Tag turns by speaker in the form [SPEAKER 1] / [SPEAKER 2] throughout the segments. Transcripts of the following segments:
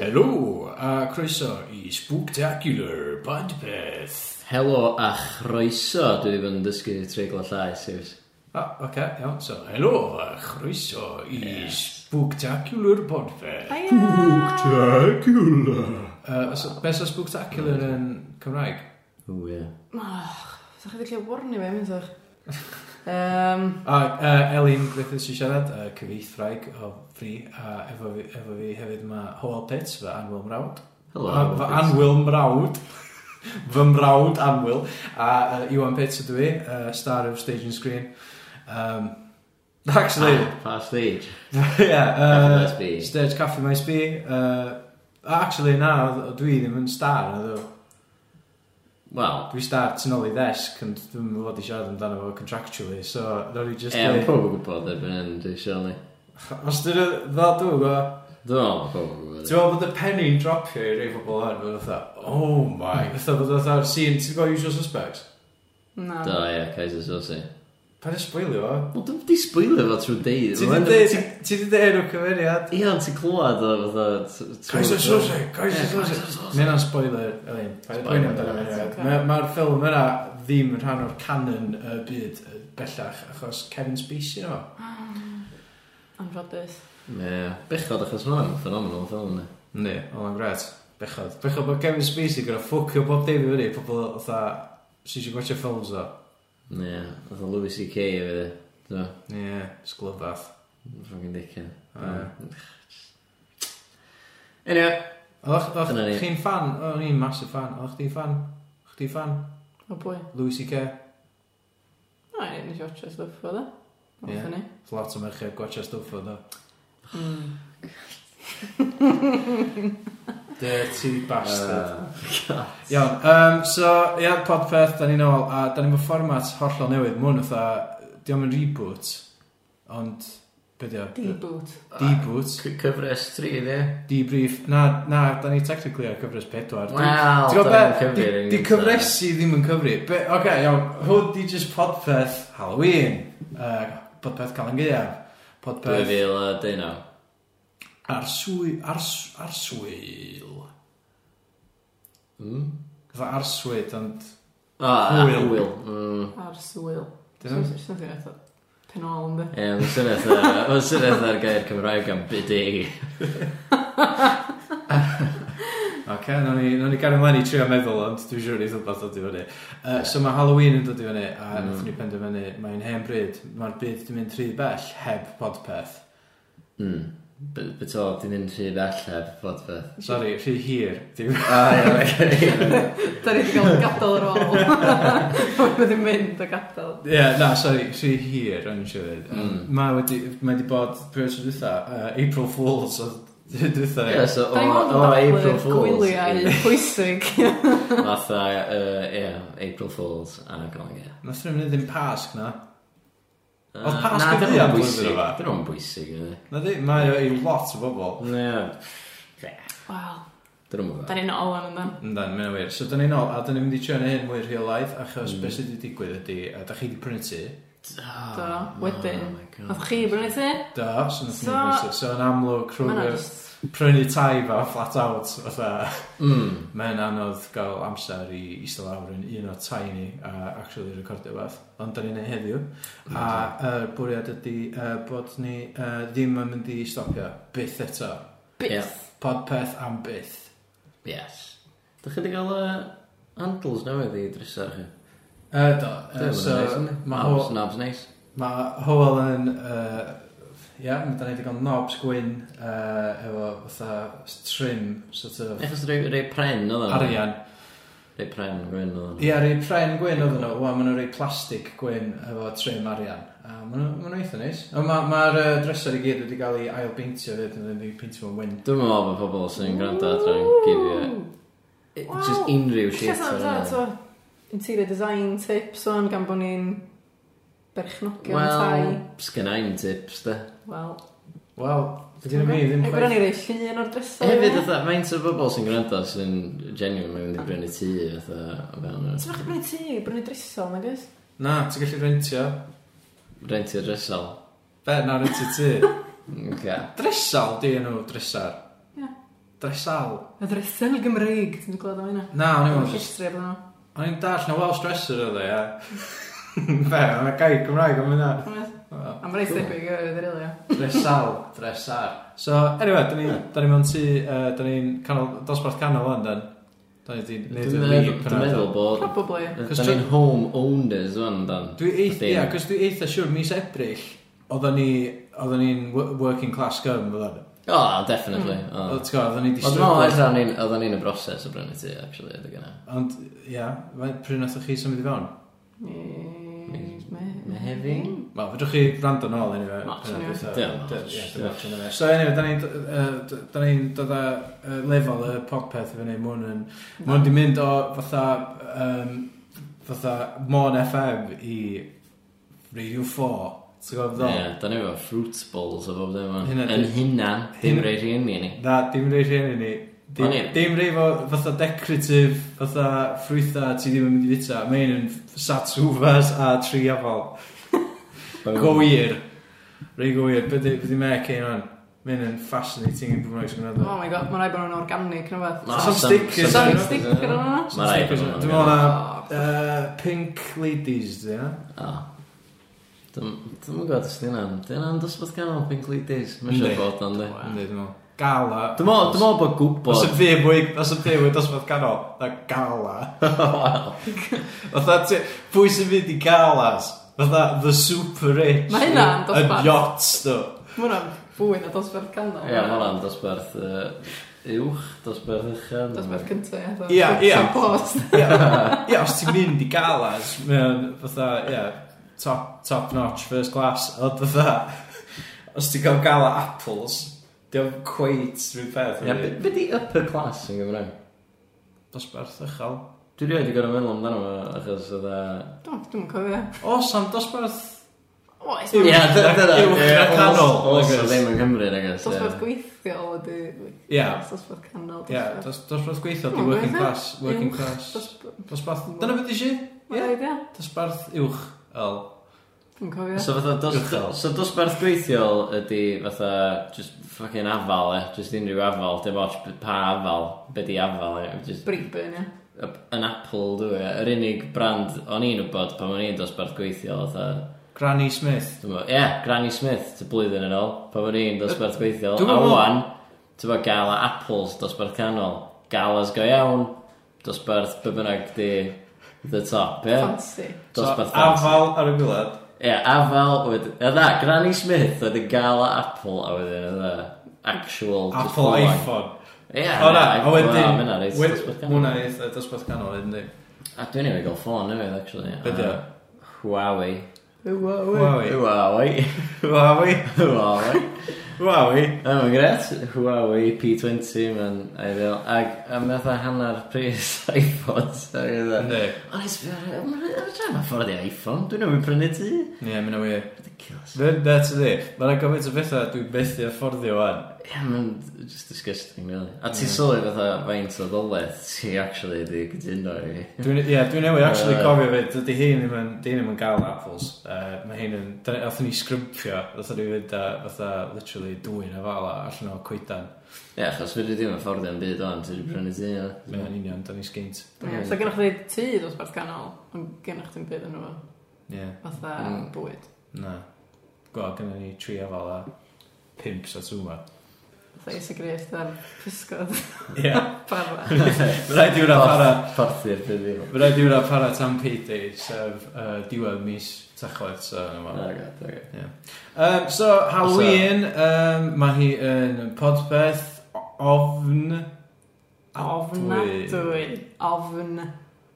[SPEAKER 1] Helo, a croeso i Spooktacular Podpeth.
[SPEAKER 2] Helo a chroeso, dwi wedi bod yn dysgu treiglo llais iws.
[SPEAKER 1] Ah, oce, okay, iawn, so, helo, a chroeso i Spooktacular Podpeth.
[SPEAKER 3] Spectacular.
[SPEAKER 1] Uh, so, be so Spooktacular yn Cymraeg?
[SPEAKER 2] O ie.
[SPEAKER 3] Sa'ch chi ddechrau warni fe, mynd o'ch? Um,
[SPEAKER 1] A uh, Elin Griffiths i siarad, uh, cyfeithraig o fri, a efo fi, efo fi hefyd mae Howell Pitts, fy anwyl mrawd.
[SPEAKER 2] Helo.
[SPEAKER 1] A- Fy anwyl mrawd. Fy mrawd anwyl. A uh, Iwan Pitts ydw i, uh, star of stage and screen. Um, actually,
[SPEAKER 2] Ah, Pa stage?
[SPEAKER 1] yeah,
[SPEAKER 2] Cafe Maes
[SPEAKER 1] uh,
[SPEAKER 2] B.
[SPEAKER 1] Stage Cafe Maes B. Uh, actually, na, oedd- oedd dwi ddim yn star, ydw.
[SPEAKER 2] Wel,
[SPEAKER 1] Dwi star tu nôl i ddesg, ond dwi'n fod i siarad amdano fo contractually, so nôl i just...
[SPEAKER 2] e, mae
[SPEAKER 1] deud-
[SPEAKER 2] pob yn gwybod erbyn hyn, dwi eisiau ni.
[SPEAKER 1] Os dyn nhw, dda dwi'n gwybod,
[SPEAKER 2] Dwi'n meddwl mae pob yn gwybod.
[SPEAKER 1] Ti'n meddwl bod y penny'n dropio i rei pobl hyn, bod fatha, oh my, fatha bod fatha'r scene, ti'n gwybod usual suspects?
[SPEAKER 3] na.
[SPEAKER 2] Da, ie, Kaiser Sosi.
[SPEAKER 1] Pa di sbwylio fo?
[SPEAKER 2] Wel, dwi'n di sbwylio fo trwy deud.
[SPEAKER 1] Ti di deud, ti di deud o'r cyfeiriad?
[SPEAKER 2] Ie, ond ti'n clywed o fatha...
[SPEAKER 1] Kaiser Sose, Kaiser
[SPEAKER 2] Ie,
[SPEAKER 1] Sose.
[SPEAKER 2] Kaiser Soze.
[SPEAKER 1] Mae yna'n spoiler, Elin.
[SPEAKER 2] Spoiler,
[SPEAKER 1] Spoiler amdano
[SPEAKER 3] that's
[SPEAKER 1] fe.
[SPEAKER 3] okay.
[SPEAKER 1] Ma- Mae'r ffilm yna ddim yn rhan o'r canon y byd yy, bellach, achos Kevin Spacey yna.
[SPEAKER 3] Anffodus.
[SPEAKER 2] Ie, bechod achos mae'n ffenomenol ffilm ni.
[SPEAKER 1] Ne, oedd yn gret. Bechod. Bechod bod Kevin Spacey gyda ffwcio bob dim i fyny, pobl otha, sy'n siŵr gwaethaf ffilms o.
[SPEAKER 2] Ie, fatha Louis C.K. efo di. Dwi'n
[SPEAKER 1] Ie, sglyfath.
[SPEAKER 2] ffogin dicen.
[SPEAKER 1] Ie.
[SPEAKER 2] Anyway,
[SPEAKER 1] Oeddech
[SPEAKER 2] Dyna ni.
[SPEAKER 1] oeddech chi'n fan? O'n i'n massive fan. Oeddech chdi'n fan? Oeddech chdi'n fan?
[SPEAKER 3] O bwy.
[SPEAKER 1] Louis C.K.
[SPEAKER 3] Na, i nes i otio stwff e? o da.
[SPEAKER 1] Ie.
[SPEAKER 3] Ie. Fyny.
[SPEAKER 1] Oth Lot o merched gwachio stwff o da.
[SPEAKER 2] Hmm.
[SPEAKER 1] Dirty bastard. Iawn, um, so, ia, podpeth, da ni'n ôl, a da ni'n fy fformat hollol newydd. Mwyn oedda, diolch yn reboot, ond, be di o?
[SPEAKER 3] Deboot.
[SPEAKER 1] Deboot.
[SPEAKER 2] C- Cyfres 3, ie.
[SPEAKER 1] Debrief. Na, na, da ni technically ar cyfres pedwar. Dwi-
[SPEAKER 2] Wel,
[SPEAKER 1] Ti'n
[SPEAKER 2] dyna'n
[SPEAKER 1] gwybod be?
[SPEAKER 2] cyfri yn
[SPEAKER 1] Di- Di
[SPEAKER 2] gynta.
[SPEAKER 1] cyfresu ddim yn cyfri. Be- Oce, okay, iawn. Hwn di just podpeth Halloween. Uh, podpeth Calan Gaeaf. Podpeth
[SPEAKER 2] 2019.
[SPEAKER 1] ar swy... Ar, s- ar swyl.
[SPEAKER 2] Mm?
[SPEAKER 1] Fytha ar swyd, ond...
[SPEAKER 2] O, a
[SPEAKER 1] Hmm? Hwyl.
[SPEAKER 2] hwyl. Mm.
[SPEAKER 3] Ar swyl.
[SPEAKER 1] Dyna-
[SPEAKER 3] Dyna? Dyna eto. Penol yn
[SPEAKER 2] Ie, mae'n syniad ar- mae'n syniad ar gair Cymraeg am byd i.
[SPEAKER 1] Oce, okay, nawn ni, nawn ni gario ymlaen i trio meddwl, ond dwi'n siŵr i ddod dod i fyny. Uh, so mae Halloween yn dod i fyny, a mm.
[SPEAKER 2] Mm.
[SPEAKER 1] nath ni penderfynu, mae'n hen bryd, mae'r byd di mynd rhy bell heb podpeth.
[SPEAKER 2] Mm. Bet o, di mynd rhy bell heb bod beth.
[SPEAKER 1] Sorry, rhy hir. Dim...
[SPEAKER 2] O, Ah, ie, okay.
[SPEAKER 3] Da ni wedi cael gadael yr ôl. Mae wedi mynd o gadael.
[SPEAKER 1] Ie, yeah, na, sorry, rhy hir, o'n i'n siarad. Mm.
[SPEAKER 2] Mm.
[SPEAKER 1] Mae wedi, mae wedi bod, beth sy'n dweitha, uh, April Fools, oedd dweitha.
[SPEAKER 2] Ie, so o,
[SPEAKER 3] Da ni
[SPEAKER 2] o April Fools.
[SPEAKER 3] Gwyliau
[SPEAKER 2] i-
[SPEAKER 3] pwysig.
[SPEAKER 2] Fatha, yy, ie, April Fools a Golang Ie.
[SPEAKER 1] Nath rhywun ddim pasg na.
[SPEAKER 2] Yy,
[SPEAKER 1] Oedd Pasg
[SPEAKER 2] na,
[SPEAKER 1] yn
[SPEAKER 2] dyn
[SPEAKER 1] ddi am
[SPEAKER 2] nhw'n
[SPEAKER 1] blwyddyn
[SPEAKER 2] bwysig.
[SPEAKER 1] yma? Oh.
[SPEAKER 2] Dyn nhw'n bwysig, ydy.
[SPEAKER 1] Na di, mae o i lot o bobl.
[SPEAKER 2] Ne,
[SPEAKER 3] Wel,
[SPEAKER 2] dyn nhw'n
[SPEAKER 3] da
[SPEAKER 2] bwysig.
[SPEAKER 3] ni'n ôl yn ymdan.
[SPEAKER 1] Yndan, mae'n wir. So, dyn ni'n ôl, a dyn ni'n mynd i trio na hyn mwy real life, achos mm. beth sydd wedi digwydd ydy, a da chi wedi prynu
[SPEAKER 2] Oh,
[SPEAKER 3] Do, wedyn. Oedd chi e? brynu ti?
[SPEAKER 1] Da, so nath so...
[SPEAKER 3] So-
[SPEAKER 1] ni prynu So, yn amlwg,
[SPEAKER 3] Mae'n
[SPEAKER 1] rhywun
[SPEAKER 3] just...
[SPEAKER 1] prynu tai fa, flat out, fatha.
[SPEAKER 2] Mm.
[SPEAKER 1] Mae'n anodd gael amser i eistedd lawr yn un o tai ni a actually recordio beth, ond da ni'n ei heddiw. A y uh, bwriad ydy uh, bod ni uh, ddim yn mynd i stopio, byth eto.
[SPEAKER 3] Bits.
[SPEAKER 1] Podpeth am byth.
[SPEAKER 2] Yes. Dych chi wedi cael y handles newydd i drysau chi?
[SPEAKER 1] Uh, do,
[SPEAKER 2] Dyna
[SPEAKER 1] uh, so
[SPEAKER 2] ma'n neis, yndi?
[SPEAKER 1] mae
[SPEAKER 2] Knobs,
[SPEAKER 1] ho-
[SPEAKER 2] knobs neis.
[SPEAKER 1] ma' Howell yn, uh, ia, yeah, da ni wedi cael knobs gwyn uh, efo fatha trim, sort of,
[SPEAKER 2] Achos rei, rei pren oedd hwnna.
[SPEAKER 1] arian.
[SPEAKER 2] Rei pren gwyn oedd hwnna.
[SPEAKER 1] Ie, rei pren gwyn oedden nhw, wan maen nhw rei plastig gwyn efo trim arian. A maen nhw- maen nhw eitha neis. Ond Mae'r ma ma'r, yy, dresser i gyd wedi cael ei ail beintio fyd, yn wedi peintio fo'n wyn.
[SPEAKER 2] Dwi'n meddwl bod pobl sy'n gwrando adran yn gifio it-
[SPEAKER 3] Wow.
[SPEAKER 2] just unrhyw
[SPEAKER 3] Lle
[SPEAKER 2] shit
[SPEAKER 3] sy'n
[SPEAKER 2] o'r
[SPEAKER 3] amser
[SPEAKER 2] hynna.
[SPEAKER 3] to interior design tips o'n gan bod ni'n berchnogio yn
[SPEAKER 2] Wel,
[SPEAKER 3] tai.
[SPEAKER 2] sgynna i'n tips da.
[SPEAKER 3] Wel,
[SPEAKER 1] Wel, dyna mi ddim
[SPEAKER 3] E brynu rei llun o'r drysau.
[SPEAKER 2] Hefyd oedd faint o bobl sy'n gwrando sy'n genuine mae'n mynd i brynu tŷ oedd o fewn yr
[SPEAKER 3] Ti'n bach brynu ti, brynu drysau, nag oes?
[SPEAKER 1] Na, ti'n gallu rentio.
[SPEAKER 2] rentio drysol.
[SPEAKER 1] Be, na rentio ti.
[SPEAKER 2] Oce.
[SPEAKER 1] Dresal, di enw dresar.
[SPEAKER 3] Ie.
[SPEAKER 1] dresal.
[SPEAKER 3] Y ddresel Gymreig, ti'n gweld am hynna?
[SPEAKER 1] Na, o'n i'n
[SPEAKER 3] Mae'n
[SPEAKER 1] meddwl,
[SPEAKER 3] llistri efo nhw.
[SPEAKER 1] o'n i'n dall na Welsh dresser oedd e, ia. Be, o'n i'n gair Gymraeg o'n mynd
[SPEAKER 3] A mae'n reis debyg o'r ddrylio.
[SPEAKER 1] Dresal, dresar. So, anyway, da ni, da ni mewn tu, uh, da ni'n canol, dosbarth canol o'n dan. Da ni di neud
[SPEAKER 2] Dwi'n
[SPEAKER 1] y
[SPEAKER 2] meddwl-
[SPEAKER 1] league
[SPEAKER 2] dwi'n meddwl
[SPEAKER 1] penodol.
[SPEAKER 2] bod...
[SPEAKER 3] Probably.
[SPEAKER 1] Cos
[SPEAKER 2] Da ni'n home owners o'n dan.
[SPEAKER 1] Dwi eitha,
[SPEAKER 2] Dim.
[SPEAKER 1] ia, cos dwi eitha siwr mis Ebrill, oedden ni, oedden ni'n wo- working class gym, oedden.
[SPEAKER 2] O, definitely. o.
[SPEAKER 1] Oedden ti'n oedden ni di
[SPEAKER 2] Ond no,
[SPEAKER 1] struggle.
[SPEAKER 2] oedden ni'n oedden ni'n y broses o brynu ti, actually, ydy gyna.
[SPEAKER 1] Ond, ia, fe- pryd nath chi symud i fewn?
[SPEAKER 3] Mehefin?
[SPEAKER 1] Wel, fedrwch chi rand yn ôl, anyway. uh,
[SPEAKER 2] Match,
[SPEAKER 1] pennod
[SPEAKER 3] ie.
[SPEAKER 1] dwytha.
[SPEAKER 2] Ie,
[SPEAKER 1] Dy-
[SPEAKER 2] match,
[SPEAKER 1] ie, dy
[SPEAKER 2] ie.
[SPEAKER 1] match yn yna. So, anyway, da ni'n yy, d- da ni'n dod â yy, lefel y podpeth i fyny. Mwyn yn... Mwyn di mynd o fatha... yym, Fatha Mon FM i Radio 4. Ti'n gwybod
[SPEAKER 2] Ie,
[SPEAKER 1] ddol?
[SPEAKER 2] da ni efo fruit balls o bob dim o'n.
[SPEAKER 1] Hynna di-
[SPEAKER 2] Yn hunan, dim
[SPEAKER 1] Hynna-
[SPEAKER 2] rei rhieni ni.
[SPEAKER 1] Na, dim rei rhieni ni. Dim,
[SPEAKER 2] O'n i-
[SPEAKER 1] dim rei fo fatha decorative, fatha ffrwytha ti ddim yn mynd i fita. Mae'n yn satsuvas a triafol. Gywir. Rhaid gywir. Be di, be di mec ein o'n? Mae'n yn fascinating i bwynnau sy'n gwneud.
[SPEAKER 3] Oh my god, mae'n rhaid bod nhw'n organic neu beth.
[SPEAKER 1] Some stickers.
[SPEAKER 3] Sorry, sticker Oh, o'n hwnna?
[SPEAKER 2] Ma' rai
[SPEAKER 1] Dwi'n
[SPEAKER 2] bod nhw'n
[SPEAKER 1] meddwl na uh, Pink Ladies, di na?
[SPEAKER 2] O. Dwi'n gwybod os di hynna'n... Di hynna'n dosbarth ganol Pink Ladies. Mae'n siŵr
[SPEAKER 1] Yndi.
[SPEAKER 2] bod o'n di.
[SPEAKER 1] Yndi, dwi'n meddwl. Gala.
[SPEAKER 2] Dwi'n meddwl dwi'n meddwl bod
[SPEAKER 1] Os y fi
[SPEAKER 2] gwybod...
[SPEAKER 1] fwy, os y fi fwy dosbarth canol, na gala.
[SPEAKER 2] Wel,
[SPEAKER 1] Fatha, ti- pwy sy'n mynd i galas? Fatha, the super rich.
[SPEAKER 3] Ma' hynna'n
[SPEAKER 1] nhw, yn
[SPEAKER 3] dosbarth.
[SPEAKER 1] yachts, do.
[SPEAKER 3] Mae hwnna'n fwy na dosbarth canol.
[SPEAKER 2] Ie, mae hwnna'n dosbarth yy, uwch, dosbarth uchel.
[SPEAKER 3] Dosbarth cynta, ie.
[SPEAKER 1] Ie, ie.
[SPEAKER 3] Post.
[SPEAKER 1] Ie, os ti'n mynd i galas, mae'n fatha, ie, top, top notch, first class, ond fatha, os ti'n cael gala apples, diolch cweit rhyw peth.
[SPEAKER 2] Ie, be- be di upper class yn Gymraeg?
[SPEAKER 1] Dosbarth uchel.
[SPEAKER 2] Dwi rioed i gorau meddwl amdano fo, achos oedd e...
[SPEAKER 3] Dwi'n cofio.
[SPEAKER 1] O, Sam, dosbarth...
[SPEAKER 3] Oes,
[SPEAKER 1] Ie,
[SPEAKER 3] mae'n
[SPEAKER 1] dyna- uwch na canol,
[SPEAKER 2] Os
[SPEAKER 1] I guess.
[SPEAKER 2] oedd ddim yn Cymru, I guess. ie.
[SPEAKER 3] dosbarth gweithiol ydy...
[SPEAKER 1] Ie.
[SPEAKER 3] Dosbarth canol.
[SPEAKER 1] Ie, dos- dosbarth gweithio, di
[SPEAKER 3] Wel,
[SPEAKER 1] working
[SPEAKER 3] gweithio.
[SPEAKER 1] class, working
[SPEAKER 3] Uwch,
[SPEAKER 1] class.
[SPEAKER 3] Dosbarth...
[SPEAKER 1] Dosbarth, dyna beth i si?
[SPEAKER 3] Mae'n
[SPEAKER 1] Ie,
[SPEAKER 3] rhaid, ie.
[SPEAKER 1] dosbarth uwch, el.
[SPEAKER 3] Dwi'n cofio.
[SPEAKER 2] So fatha dos,
[SPEAKER 1] Uchel.
[SPEAKER 2] so dosbarth gweithiol ydy fatha just fucking afal e, just unrhyw afal, dim ots b- pa afal, be di afal e, just
[SPEAKER 3] Briburn, ie.
[SPEAKER 2] a- an apple dwi e, yr unig brand o'n i'n wybod pan o'n i'n dosbarth gweithiol fatha,
[SPEAKER 1] Granny Smith.
[SPEAKER 2] dwi'n meddwl, ie, Granny Smith, ty blwyddyn yn ôl, pan o'n i'n dosbarth gweithiol,
[SPEAKER 1] Dwi'm
[SPEAKER 2] a
[SPEAKER 1] yn meddwl-
[SPEAKER 2] wan, ti'n meddwl gala apples dosbarth canol, galas go iawn, dosbarth be bynnag di the top, ie,
[SPEAKER 3] Fancy.
[SPEAKER 1] So,
[SPEAKER 2] dosbarth fancy.
[SPEAKER 1] afal ar y gwylad.
[SPEAKER 2] Ie, afal, wedyn, e, ydda, Granny Smith oedd y gael Apple a wedyn ydda, actual... just full
[SPEAKER 1] Apple
[SPEAKER 2] on.
[SPEAKER 1] iPhone.
[SPEAKER 2] Ie,
[SPEAKER 1] O na, a
[SPEAKER 2] Wel, ma'
[SPEAKER 1] wedyn...
[SPEAKER 2] hynna reit
[SPEAKER 1] wed-
[SPEAKER 2] dosbarth canol.
[SPEAKER 1] Hwnna eitha dosbarth canol, ynddi.
[SPEAKER 2] A dwi'n ei gael ffôn newydd, actually.
[SPEAKER 1] Be' di o?
[SPEAKER 2] A- Huawei.
[SPEAKER 3] Wow.
[SPEAKER 1] Huawei.
[SPEAKER 2] Huawei.
[SPEAKER 1] Huawei.
[SPEAKER 2] Huawei.
[SPEAKER 1] Huawei.
[SPEAKER 2] A mae'n gret, Huawei P20, mae'n ideal. Ag, a mae oedd hanner pris iPhones. Ag ydda.
[SPEAKER 1] Ynddi.
[SPEAKER 2] Ond it's very... Mae'n rhaid ma ffordd i iPhone, dwi'n ei prynu ti.
[SPEAKER 1] Ie, mynd o wir.
[SPEAKER 2] Ridiculous.
[SPEAKER 1] Fy'n net ydi. Mae'n gymaint o bethau dwi'n methu a fforddio wan.
[SPEAKER 2] Ie, mae'n just disgusting, really. A ti'n sylwi fatha faint o ddoledd ti actually di gyduno i.
[SPEAKER 1] Dwi'n- Ie, dwi'n newid actually
[SPEAKER 2] Yy.
[SPEAKER 1] cofio fe, dydy hyn ddim yn, di hyn ddim yn gael apples. Uh, mae hyn yn, dyna- athyn ni sgrymfio, athyn ni fynd a, fatha, literally, dwy'n a fala allan o coedan.
[SPEAKER 2] Ie, achos fyddi ddim yn ffordd yn byd o'n, ti'n brynu ti
[SPEAKER 1] Mae
[SPEAKER 2] yna.
[SPEAKER 1] hyn union, da ni sgint.
[SPEAKER 3] Ie, So gennych chi tŷ dosbarth canol, ond gennych chi'n byd yn nhw,
[SPEAKER 1] Ie,
[SPEAKER 3] fatha
[SPEAKER 2] Mm.
[SPEAKER 3] bwyd.
[SPEAKER 1] na. Gwa, gyda ni tri a fala, pimp sa tŵma.
[SPEAKER 3] Fatha is y grist ar pysgod
[SPEAKER 1] Ie,
[SPEAKER 3] barra.
[SPEAKER 1] mae rhaid i wna para.
[SPEAKER 2] Porthu'r byd ddim.
[SPEAKER 1] Mae rhaid i wna para tam payday, sef uh, diwedd mis tachwedd, so yna fo.
[SPEAKER 2] Oh god, okay.
[SPEAKER 1] Um, so, Halloween, um, mae hi yn podpeth, ofn,
[SPEAKER 3] Ofnadwy. Ofn.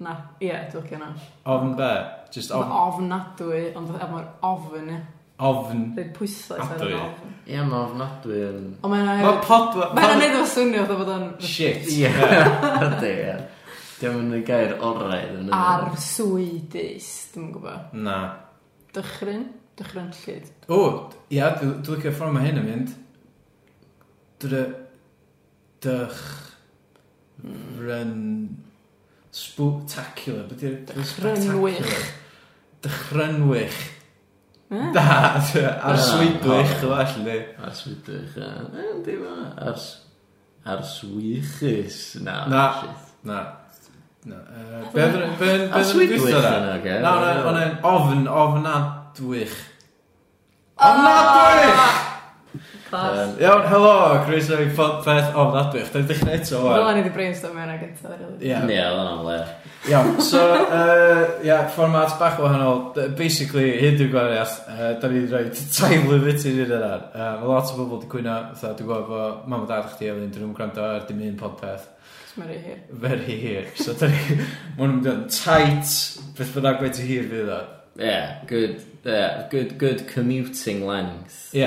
[SPEAKER 3] Na, ie, dwi'n cyn
[SPEAKER 1] Ofn be? Just ofn.
[SPEAKER 3] Ofnadwy, ond efo mae'r ofn, ie.
[SPEAKER 1] ofn.
[SPEAKER 3] Rhaid pwysau ar
[SPEAKER 1] Adwy.
[SPEAKER 3] yr ofn.
[SPEAKER 2] Ie, mae ofnadwy yn...
[SPEAKER 3] Ond mae'n...
[SPEAKER 1] Mae pod...
[SPEAKER 3] Mae'n neud o swnio fatha bod o'n
[SPEAKER 1] Shit.
[SPEAKER 2] Ie, ydy, ie. Diolch yn y gair orau.
[SPEAKER 3] ar swydus, dwi'n gwybod.
[SPEAKER 1] Na.
[SPEAKER 3] Dychryn? Dychryn llyd.
[SPEAKER 1] O, ia, dwi'n licio ffordd mae hyn yn mynd. Dre... Dych... Ryn... Spectacular. Be di'r...
[SPEAKER 3] Dychrynwych.
[SPEAKER 1] Dychrynwych.
[SPEAKER 3] Ie?
[SPEAKER 1] Da, ar
[SPEAKER 2] Na,
[SPEAKER 1] swydwych,
[SPEAKER 2] na.
[SPEAKER 1] well, ni.
[SPEAKER 2] Ar swydych, ie. Ie, di ma. Ar... s- Arswychus. Na,
[SPEAKER 1] Na.
[SPEAKER 2] shit.
[SPEAKER 1] Na. Na. Yy, Be fydd- be- be- be-
[SPEAKER 2] Arswydwych
[SPEAKER 1] dwytha na?
[SPEAKER 2] yna, ge.
[SPEAKER 1] Na, na, o'n e'n ofn, ofnadwych.
[SPEAKER 3] Ah!
[SPEAKER 1] Ofnadwych!
[SPEAKER 3] Ofnadwy! Clas.
[SPEAKER 2] Yym,
[SPEAKER 1] Iawn, helo, croeso i podpeth ofnadwych. Da'n dechrau eto,
[SPEAKER 3] Fel
[SPEAKER 1] wan.
[SPEAKER 3] o'n i wedi brainstorm mewn ag eto, rili.
[SPEAKER 1] Ie.
[SPEAKER 2] Ie, oedd yna'n le.
[SPEAKER 1] Iawn, so, yy, ia, fformat bach wahanol. D- Basically, hyn dwi'n gwariaeth, uh, da ni wedi rhoi time limit i'n un yna. Uh, mae lot o bobl wedi cwyno, fatha, dwi'n gwybod bod mam a dad chdi a fynd, dyn nhw'n gwrando ar dim un podpeth.
[SPEAKER 3] Cos mae'n rhaid hir.
[SPEAKER 1] Very hir. So, da ni, mae nhw'n mynd yn tight, beth bynnag wedi hir fydd o.
[SPEAKER 2] Ie, good, ie, good, good commuting length.
[SPEAKER 1] Ie.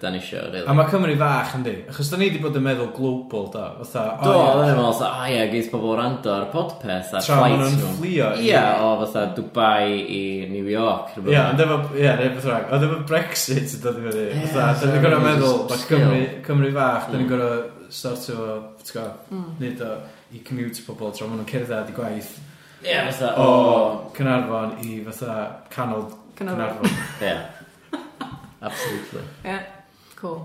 [SPEAKER 2] Da ni isio, really.
[SPEAKER 1] A mae Cymru fach, yndi? Achos da ni wedi bod yn meddwl global, da. Fatha,
[SPEAKER 2] Do,
[SPEAKER 1] o, ie.
[SPEAKER 2] oedd yn meddwl, o ie, geith pobl rando ar podpeth, ar
[SPEAKER 1] Tra ma'
[SPEAKER 2] flights
[SPEAKER 1] nhw'n
[SPEAKER 2] nhw.
[SPEAKER 1] fflio i-
[SPEAKER 2] Ie, o fatha Dubai i New York. rhywbeth.
[SPEAKER 1] Ie, ond efo, ie, neu beth rhaid. Oedd efo Brexit yn dod i fyny.
[SPEAKER 2] Ie,
[SPEAKER 1] Fatha,
[SPEAKER 2] so
[SPEAKER 1] da ni'n gorau
[SPEAKER 2] ma'
[SPEAKER 1] meddwl,
[SPEAKER 2] just
[SPEAKER 1] mae
[SPEAKER 2] still.
[SPEAKER 1] Cymru, Cymru fach, da ni'n
[SPEAKER 2] Mm.
[SPEAKER 1] gorau sort o, ti'n go,
[SPEAKER 3] Mm.
[SPEAKER 1] nid o, i commute pobl tra maen nhw'n cerdded i gwaith
[SPEAKER 2] Ie, fatha,
[SPEAKER 1] o
[SPEAKER 2] o...
[SPEAKER 1] Cynarfon i fatha canol
[SPEAKER 3] Cynnwyr.
[SPEAKER 1] Cynarfon.
[SPEAKER 2] Ie. Absolutely.
[SPEAKER 3] Ie. Cool.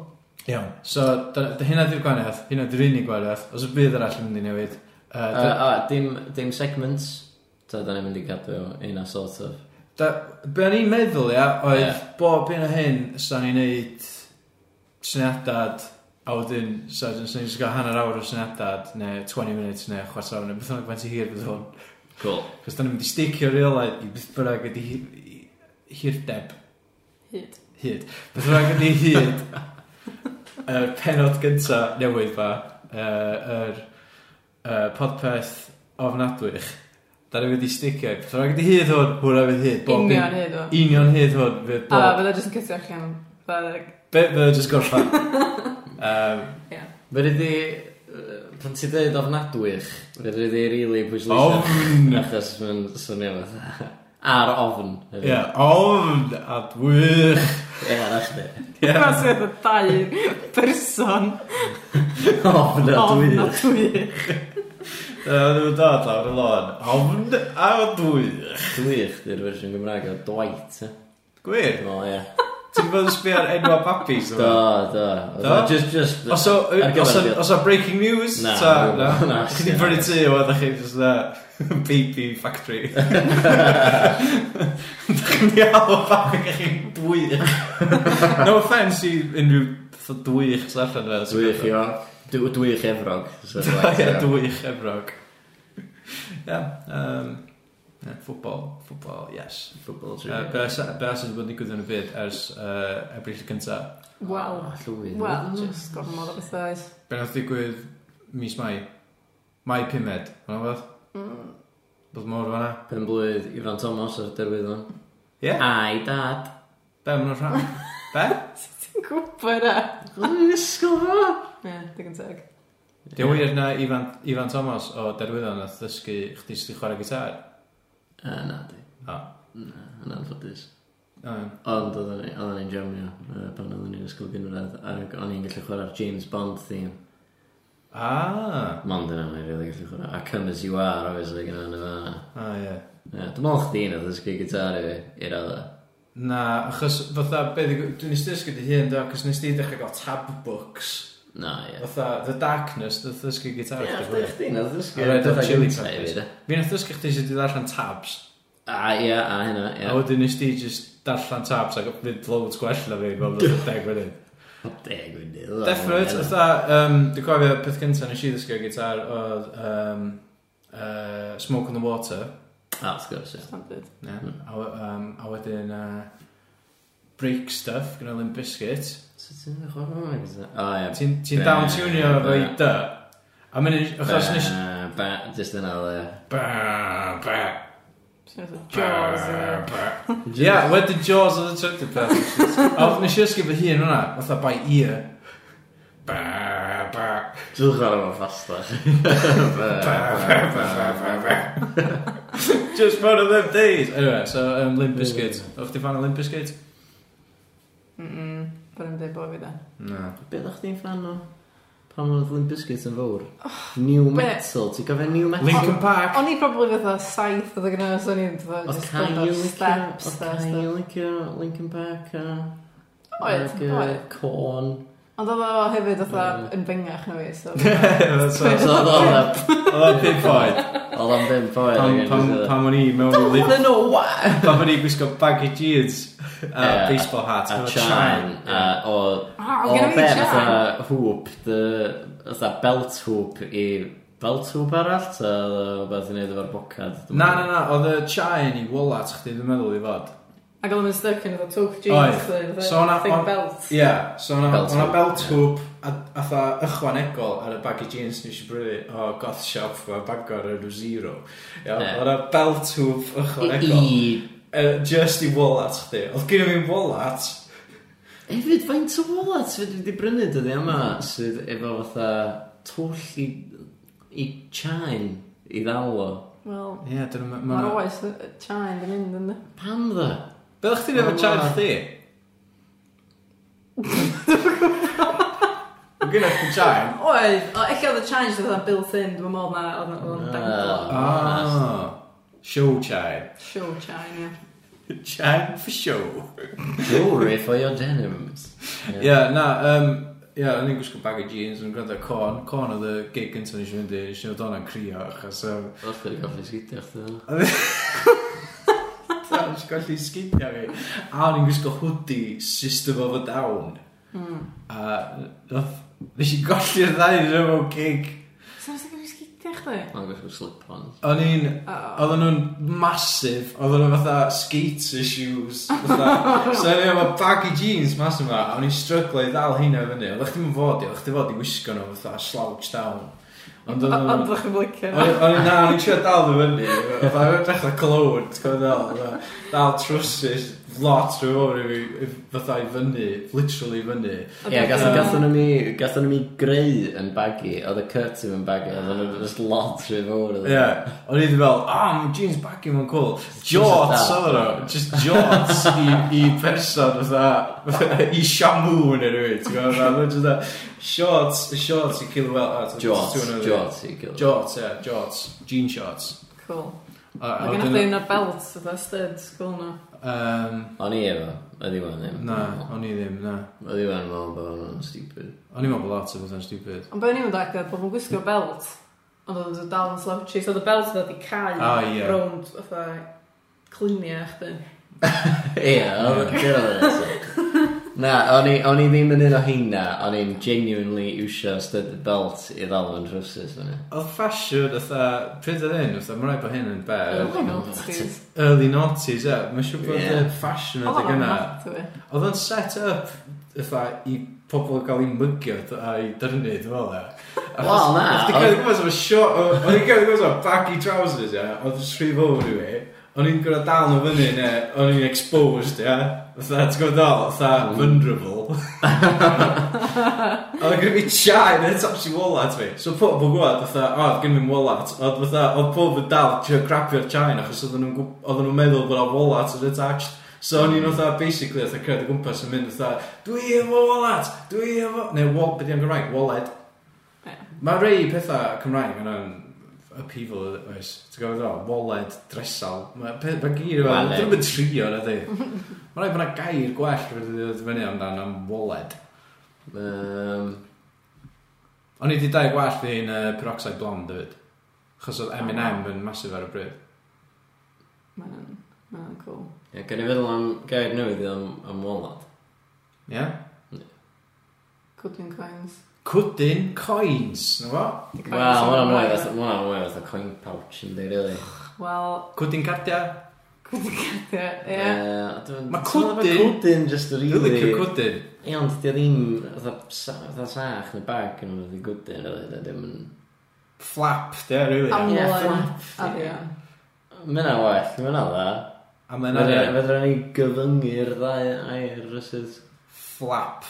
[SPEAKER 1] Iawn, so da, da hynna di'r gwahaniaeth, hynna di'r unig gwahaniaeth, os y bydd arall yn mynd i newid. Yy,
[SPEAKER 2] Uh,
[SPEAKER 1] da-
[SPEAKER 2] uh, dim, dim segments. Ta, da ni'n mynd i gadw un a sort of.
[SPEAKER 1] Da, be o'n i'n meddwl, ia, oedd yeah.
[SPEAKER 2] Ie.
[SPEAKER 1] bob un o hyn sa'n ni'n neud syniadad a wedyn sa'n ni'n just gael hanner awr o syniadad neu 20 minutes neu chwarter awr neu beth bynnag faint i hir bydd hwn.
[SPEAKER 2] Cool.
[SPEAKER 1] Cos da ni'n mynd i sticio reolaid i beth bynnag ydi hi- i- hirdeb,
[SPEAKER 3] Hyd.
[SPEAKER 1] hyd. Beth bynnag ydi hyd y penod gynta newydd fa, yy, yr uh, podpeth ofnadwych. Da ni'n mynd i sticio, beth bynnag ydi hyd hwn, hwnna fydd hyd. bob un-
[SPEAKER 3] Union hyd o.
[SPEAKER 1] Union hyd hwn fydd
[SPEAKER 3] A
[SPEAKER 1] bob
[SPEAKER 3] fydda jyst yn cytio allan. Fel-
[SPEAKER 1] Be, fe jyst gorffan. um,
[SPEAKER 2] Fe ydi... Pan ti dweud ofnadwych, fe ydi rili pwysleisio.
[SPEAKER 1] ofn!
[SPEAKER 2] Achos mae'n swnio fatha. Ar ofn. hefyd.
[SPEAKER 1] Ie, ofn a dwych.
[SPEAKER 2] Ie, na chdi.
[SPEAKER 1] Ie.
[SPEAKER 3] Ma' sydd y dau person
[SPEAKER 2] Ofn a
[SPEAKER 3] ofn a
[SPEAKER 2] dwych.
[SPEAKER 3] dwy.
[SPEAKER 1] Dyna nhw'n dod lawr y lôn. Ofn a dwych.
[SPEAKER 2] Dwych, di'r fersiwn Gymraeg o Dwight. eh.
[SPEAKER 1] Gwir.
[SPEAKER 2] Dwi'n meddwl, ie.
[SPEAKER 1] Ti'n bod yn sbio ar enwa babis?
[SPEAKER 2] Do, do.
[SPEAKER 1] Do?
[SPEAKER 2] Just, just...
[SPEAKER 1] Os o,
[SPEAKER 2] ar gyfer
[SPEAKER 1] os o,
[SPEAKER 2] y-
[SPEAKER 1] os o breaking news?
[SPEAKER 2] Na,
[SPEAKER 1] ta,
[SPEAKER 2] dwi'n-
[SPEAKER 1] na.
[SPEAKER 2] na,
[SPEAKER 1] Chi di
[SPEAKER 2] na.
[SPEAKER 1] brynu tu o ddech chi just na baby factory. Dach chi'n di alw babi gach chi'n dwych. No offence i unrhyw fatha dwych sy'n allan yna.
[SPEAKER 2] Dwych i o. Dw- Dwych efrog. so, right,
[SPEAKER 1] Ie,
[SPEAKER 2] so.
[SPEAKER 1] dwych efrog. Ie, yym, ie, ffwbol, ffwbol, yes.
[SPEAKER 2] Football
[SPEAKER 1] Yy, Be a sy'n bod yn digwydd yn y byd ers yy, ebrill y cynta?
[SPEAKER 3] Wel.
[SPEAKER 2] Llwyd.
[SPEAKER 3] Wel, just gorfod modd o beth oes.
[SPEAKER 1] Be nath digwydd mis mai? Mai pumed, hwnna fod?
[SPEAKER 3] Mm.
[SPEAKER 1] Bod mor fanna?
[SPEAKER 2] Pen blwydd Ifan Thomas ar derwydd hwn.
[SPEAKER 1] Ie,
[SPEAKER 2] Ai, dad.
[SPEAKER 1] be maen nhw'n rhan? Be?
[SPEAKER 3] Ti'n gwybod e?
[SPEAKER 2] Gwneud ysgol fo.
[SPEAKER 3] Ie, digon teg.
[SPEAKER 1] Di wir na Ifan, Ifan Thomas o Derwyddon nath ddysgu chdi sydd wedi chwarae gitar?
[SPEAKER 2] A, na, di.
[SPEAKER 1] O.
[SPEAKER 2] Na, yn anffodus.
[SPEAKER 1] O, ie.
[SPEAKER 2] Ond oedden ni- oedden ni'n jamio yy, pan oedden ni'n ysgol gynradd ac o'n i'n gallu chwarae'r James Bond theme.
[SPEAKER 1] Ah,
[SPEAKER 2] Mond yna o'n i'n rili gallu chwarae. A Come As You Are, obviously, gyda hwnna fan.
[SPEAKER 1] o ie.
[SPEAKER 2] Ie, Dwi'n meddwl chdi na ddysgu gitar i fi, i'r adda.
[SPEAKER 1] Na, achos fatha, be ddigw- dwi'n nes dysgu dy hun, do, achos nes di dechrau gael tab books.
[SPEAKER 2] Na, ie.
[SPEAKER 1] Fatha, The Darkness, dy ddysgu gitar
[SPEAKER 2] Ie,
[SPEAKER 1] chdi
[SPEAKER 2] chdi-
[SPEAKER 1] fwy.
[SPEAKER 2] chdi na ddysgu
[SPEAKER 1] A roedd o'n
[SPEAKER 2] gitar
[SPEAKER 1] Chili
[SPEAKER 2] gynta i fi,
[SPEAKER 1] Peppers.
[SPEAKER 2] de.
[SPEAKER 1] Fi nath ddysgu chdi sydd wedi darllen tabs.
[SPEAKER 2] A, ie, a hynna, ie.
[SPEAKER 1] A wedyn nes di just darllen tabs ac mynd loads gwell na fi, fel bod yn deg wedyn.
[SPEAKER 2] Deg wedi.
[SPEAKER 1] Definite, fatha, um, dwi'n cofio peth cyntaf nes i ddysgu gitar oedd um, uh, Smoke on the Water.
[SPEAKER 2] A, wrth gwrs, ie.
[SPEAKER 3] Standard.
[SPEAKER 1] Yeah.
[SPEAKER 2] Hmm.
[SPEAKER 1] A, we- um, a wedyn uh, Break Stuff, gyda Limp Bizkit.
[SPEAKER 2] Sut ti'n chwarae hwnna gyda? O, ie.
[SPEAKER 1] Ti'n ti
[SPEAKER 2] Be-
[SPEAKER 1] down-tunio efo i
[SPEAKER 2] be-
[SPEAKER 1] dy. A mynd, achos nes...
[SPEAKER 2] Ba- ba- Just yna, ie.
[SPEAKER 1] Ba, ba,
[SPEAKER 3] Swn i'n
[SPEAKER 1] ba,
[SPEAKER 3] Jaws. ie.
[SPEAKER 1] ba. Ie, wedyn Jaws oedd y trydydd peth. A nes i ysgu fy hun hwnna, fatha by ear. Ba, ba,
[SPEAKER 2] Dwi'n chwarae hwnna ffastach.
[SPEAKER 1] ba, ba, ba, ba, ba. Just one of them days. Anyway, so um, Limp Bizkit. O'ch di fan o Limp Bizkit?
[SPEAKER 3] Mm-mm. Bydd yn dweud bod fi da.
[SPEAKER 1] Na.
[SPEAKER 2] Be ddech chi'n fan o? Pan oedd Limp Bizkit yn fawr? New
[SPEAKER 3] Oh, be-
[SPEAKER 2] Metal. Ti'n gofio New Metal?
[SPEAKER 1] Linkin Park.
[SPEAKER 3] O'n i probably fatha saith oedd gyda so o'n i'n fatha
[SPEAKER 2] Oedd
[SPEAKER 3] just
[SPEAKER 2] Cain
[SPEAKER 3] gwrando ar
[SPEAKER 2] yn
[SPEAKER 3] steps
[SPEAKER 2] licio...
[SPEAKER 3] a
[SPEAKER 2] Oedd Cain
[SPEAKER 3] stuff.
[SPEAKER 2] yn licio Linkin Park a...
[SPEAKER 3] Oedd,
[SPEAKER 2] ac, yy,
[SPEAKER 3] oedd.
[SPEAKER 2] Corn.
[SPEAKER 3] Ond oedd o hefyd oedd
[SPEAKER 2] Mm.
[SPEAKER 3] yn fengach na fi, so...
[SPEAKER 2] So
[SPEAKER 1] Oedd
[SPEAKER 2] oedd o'n
[SPEAKER 1] o'n pimp oed.
[SPEAKER 2] Oedd o'n bimp oed
[SPEAKER 1] Pam,
[SPEAKER 2] ac yn
[SPEAKER 1] pam,
[SPEAKER 2] just,
[SPEAKER 1] pam o'n i mewn i lip...
[SPEAKER 2] Oedden nhw, wa!
[SPEAKER 1] Pam o'n i gwisgo baggy jeans a
[SPEAKER 2] Ie,
[SPEAKER 1] baseball hat.
[SPEAKER 2] A
[SPEAKER 1] efo
[SPEAKER 2] chan, a
[SPEAKER 1] Ie.
[SPEAKER 2] o...
[SPEAKER 3] Ah,
[SPEAKER 2] O
[SPEAKER 3] oedd gen i
[SPEAKER 2] be,
[SPEAKER 3] fi chan!
[SPEAKER 2] fatha hŵp, dy... Fatha belt hŵp i... Belt hŵp arall, ta oedd o beth i wneud efo'r bocad? Dwi'm yn
[SPEAKER 1] Na, na,
[SPEAKER 2] gwbod.
[SPEAKER 1] na, oedd y chain i wallet chdi, dwi'n meddwl i fod.
[SPEAKER 3] Ac oedd o'n stuck yn oedd o toke
[SPEAKER 1] Oedd.
[SPEAKER 3] jeans, oedd
[SPEAKER 1] So
[SPEAKER 3] o
[SPEAKER 1] hwnna-
[SPEAKER 3] thick
[SPEAKER 1] hwn-
[SPEAKER 3] belt.
[SPEAKER 1] Ie, yeah, so o'na
[SPEAKER 2] Belt
[SPEAKER 1] o'na
[SPEAKER 2] hoop,
[SPEAKER 1] belt
[SPEAKER 2] ie.
[SPEAKER 1] hoop a atha ychwanegol ar y baggy jeans nes i brynu o goth shop ma Bangor yn nhw zero. Ia,
[SPEAKER 2] Ie.
[SPEAKER 1] o'na belt hoop ychwanegol.
[SPEAKER 2] I...
[SPEAKER 1] Yy, Just i wallet chdi. Oedd gen i fi'n wallet.
[SPEAKER 2] Hefyd, faint o wallets fyddi wedi brynu dyddi yma sydd efo fatha twll i... i chain i ddal o.
[SPEAKER 3] Wel,
[SPEAKER 1] Ie, dyn nhw'n...
[SPEAKER 3] mae'r oes y- y chan yn mynd yn...
[SPEAKER 2] Pam dda?
[SPEAKER 1] Be ddech chi'n efo chain chdi? Dwi'n gynnwch chi'n chain?
[SPEAKER 3] Oedd, o, eich oedd y chan sydd oedd o'n built-in, dwi'n meddwl na oedd o'n- oedd o'n danglo.
[SPEAKER 2] Ah.
[SPEAKER 1] Ah, show chain.
[SPEAKER 3] Show chan, ie.
[SPEAKER 1] Chain for show.
[SPEAKER 2] Jewelry for your denims.
[SPEAKER 1] Ie, yeah, na, um, ie, yeah, o'n i'n gwisgo bag o jeans, o'n gwrando corn, corn oedd y gig gyntaf nes i fynd i, nes i fod o'n crio, achos, yym,
[SPEAKER 2] Oedd chi'n goffi sgidio chdi dda?
[SPEAKER 1] o'n i'n gallu sgidio fi, a o'n i'n gwisgo hoodie, system of a down,
[SPEAKER 3] Mm.
[SPEAKER 1] a, nath, nes i golli'r ddau yn efo gig,
[SPEAKER 3] Sa'n sy'n gyda'i sgidio chdi?
[SPEAKER 2] Mae'n gwisgo slip-ons.
[SPEAKER 1] o'n i'n,
[SPEAKER 3] O,
[SPEAKER 1] oedden nhw'n massive, oedden nhw fatha skater shoes, fatha, so o'n i efo baggy jeans mas yma, a o'n i'n stryglo i ddal heina fyny, oeddech chi'n fod i, oeddech chi'n fod i wisgo nhw fatha slouch down, ond oedden nhw'n
[SPEAKER 3] Ond ddech chi'n blicio.
[SPEAKER 1] O'n i- o'n i- na, o'n i'n trio dal ddim fyny Oedd o'n edrych na clywed, ti'n gwybod fel fatha, Dal trwsus, lot rhyw o'r i fi Fatha i fyny, literally i fyny
[SPEAKER 2] Ie, gatho gatho nhw mi, gatho nhw mi greu yn baggy, oedd y curtain yn baggy, oedd nhw'n just lot rhy fawr oedd.
[SPEAKER 1] Ie, o'n i ddim fel, o, mae jeans baggy ma'n cool Jorts,
[SPEAKER 2] Jeans a
[SPEAKER 1] oedd o'n Just jorts i, i person, fatha I siamw neu rhywun, ti'n gwybod fel Mae'n just a, shorts, shorts i cilw fel o, ti'n gwbod,
[SPEAKER 2] Jorts,
[SPEAKER 1] two another.
[SPEAKER 2] jorts i gael.
[SPEAKER 1] Jorts, ie, jorts, jean shorts
[SPEAKER 3] Cool.
[SPEAKER 1] A- a
[SPEAKER 3] Mae gen i
[SPEAKER 1] wedyn-
[SPEAKER 3] chdi un o'r belt, oedd o studs, cool nhw.
[SPEAKER 1] Yym,
[SPEAKER 2] O'n i efo, oedd i wan ddim.
[SPEAKER 1] Na, o'n i ddim, na
[SPEAKER 2] Oedd i wan mewn bod o'n stupid.
[SPEAKER 1] O'n i'n meddwl bod lot o bethau'n stupid.
[SPEAKER 3] Ond byddwn i'n mynd ac oedd bod yn gwisgo belt, ond oedd o'n dal yn slouchy, so oedd y belt oedd i cael
[SPEAKER 1] Ah, ie.
[SPEAKER 3] rownd fatha clunia chdi.
[SPEAKER 2] Ie, oedd o'n gyrraedd Na, o'n i, o'n i ddim yn un o heina, o'n i'n genuinely iwsio studded belt i ddal yn trwsus fyny.
[SPEAKER 1] Oedd fashion, oedd pryd oedd hyn, oedd mae'n rhaid bod hyn yn
[SPEAKER 3] Oedd
[SPEAKER 1] bad.
[SPEAKER 3] o'n noughties.
[SPEAKER 1] Early noughties, ie. Mae'n siŵr bod
[SPEAKER 2] Ie.
[SPEAKER 1] y fashion
[SPEAKER 3] Oedd
[SPEAKER 1] oedd
[SPEAKER 3] o'n
[SPEAKER 1] yna.
[SPEAKER 3] mat fi.
[SPEAKER 1] Oedd o'n set up, oedd i pobl gael ei mygio a i dyrnu, dwi'n fel e.
[SPEAKER 2] Wel, na,
[SPEAKER 1] Oedd i'n cael ei gwybod sef short, oedd i'n cael ei gwybod sef baggy trousers, ie. Oedd yn sri fawr i fi. O'n i'n gwrdd dal nhw fyny, ne, o'n i'n exposed, ie. Fytha, ti'n gwybod dal, fytha,
[SPEAKER 2] Mm.
[SPEAKER 1] vulnerable. Oedd gen i fi chai yn y top si wallet fi. So pob yn gwybod, fatha, o, oedd gen i'n wallet. Oedd fatha, oedd pob yn dal trio grabio'r chai yn achos oedden nhw'n gw- oedden nhw'n meddwl bod o wallet yn attached. So o'n i'n fatha, basically, oedd cred o gwmpas yn mynd fatha, dwi efo wallet, dwi efo... Neu, wal, beth i'n Gymraeg, wallet.
[SPEAKER 3] Ie.
[SPEAKER 1] Mae rei pethau Cymraeg yn yn upheaval, oes. Ti'n gofod o, wallet, dresal. Mae pe- ma' gyd efo,
[SPEAKER 2] Wallet.
[SPEAKER 1] dwi'n mynd trio na di. Mae rhaid bod yna gair gwell wedi dod fyny amdan am wallet.
[SPEAKER 2] Um,
[SPEAKER 1] O'n i wedi dau gwell fi'n uh, peroxide blond dweud. Chos oedd M&M yn masif ar y bryd.
[SPEAKER 3] Mae'n mae'n cool.
[SPEAKER 2] ie, gan i feddwl am gair newydd am, am walnut.
[SPEAKER 1] Ie? Yeah?
[SPEAKER 3] Cwdwyn coins.
[SPEAKER 1] Cwdyn coins, na fo?
[SPEAKER 3] Di coins
[SPEAKER 2] Wel, ma' hwnna'n mwy
[SPEAKER 3] yn
[SPEAKER 2] fath- ma' hwnna'n mwy fath o coin pouch yn di, really.
[SPEAKER 3] Wel,
[SPEAKER 1] Cwdyn cardia?
[SPEAKER 3] cwdwyn cardia, ie.
[SPEAKER 2] Ie, dwi'n-
[SPEAKER 1] Ma'
[SPEAKER 2] teimlo
[SPEAKER 1] cwdyn-
[SPEAKER 2] ma' cwdyn just yn
[SPEAKER 1] Dwi'n
[SPEAKER 2] rili-
[SPEAKER 1] licio cwdyn.
[SPEAKER 2] Ie, ond dio ddim fatha sa- fatha sach neu bag yn fath i gwdyn, really, dio ddim yn-
[SPEAKER 1] Flap, de, rili.
[SPEAKER 3] Am-
[SPEAKER 1] Really.
[SPEAKER 2] Ie,
[SPEAKER 3] Amlwg.
[SPEAKER 2] fflap,
[SPEAKER 3] A fi,
[SPEAKER 2] ie.
[SPEAKER 3] ie.
[SPEAKER 2] Ma' hynna'n well, ma' hynna'n dda.
[SPEAKER 1] A mae'n
[SPEAKER 2] Fedra-
[SPEAKER 1] arian.
[SPEAKER 2] fedra ni gyfyngu'r ddau air rysydd.
[SPEAKER 1] Flap.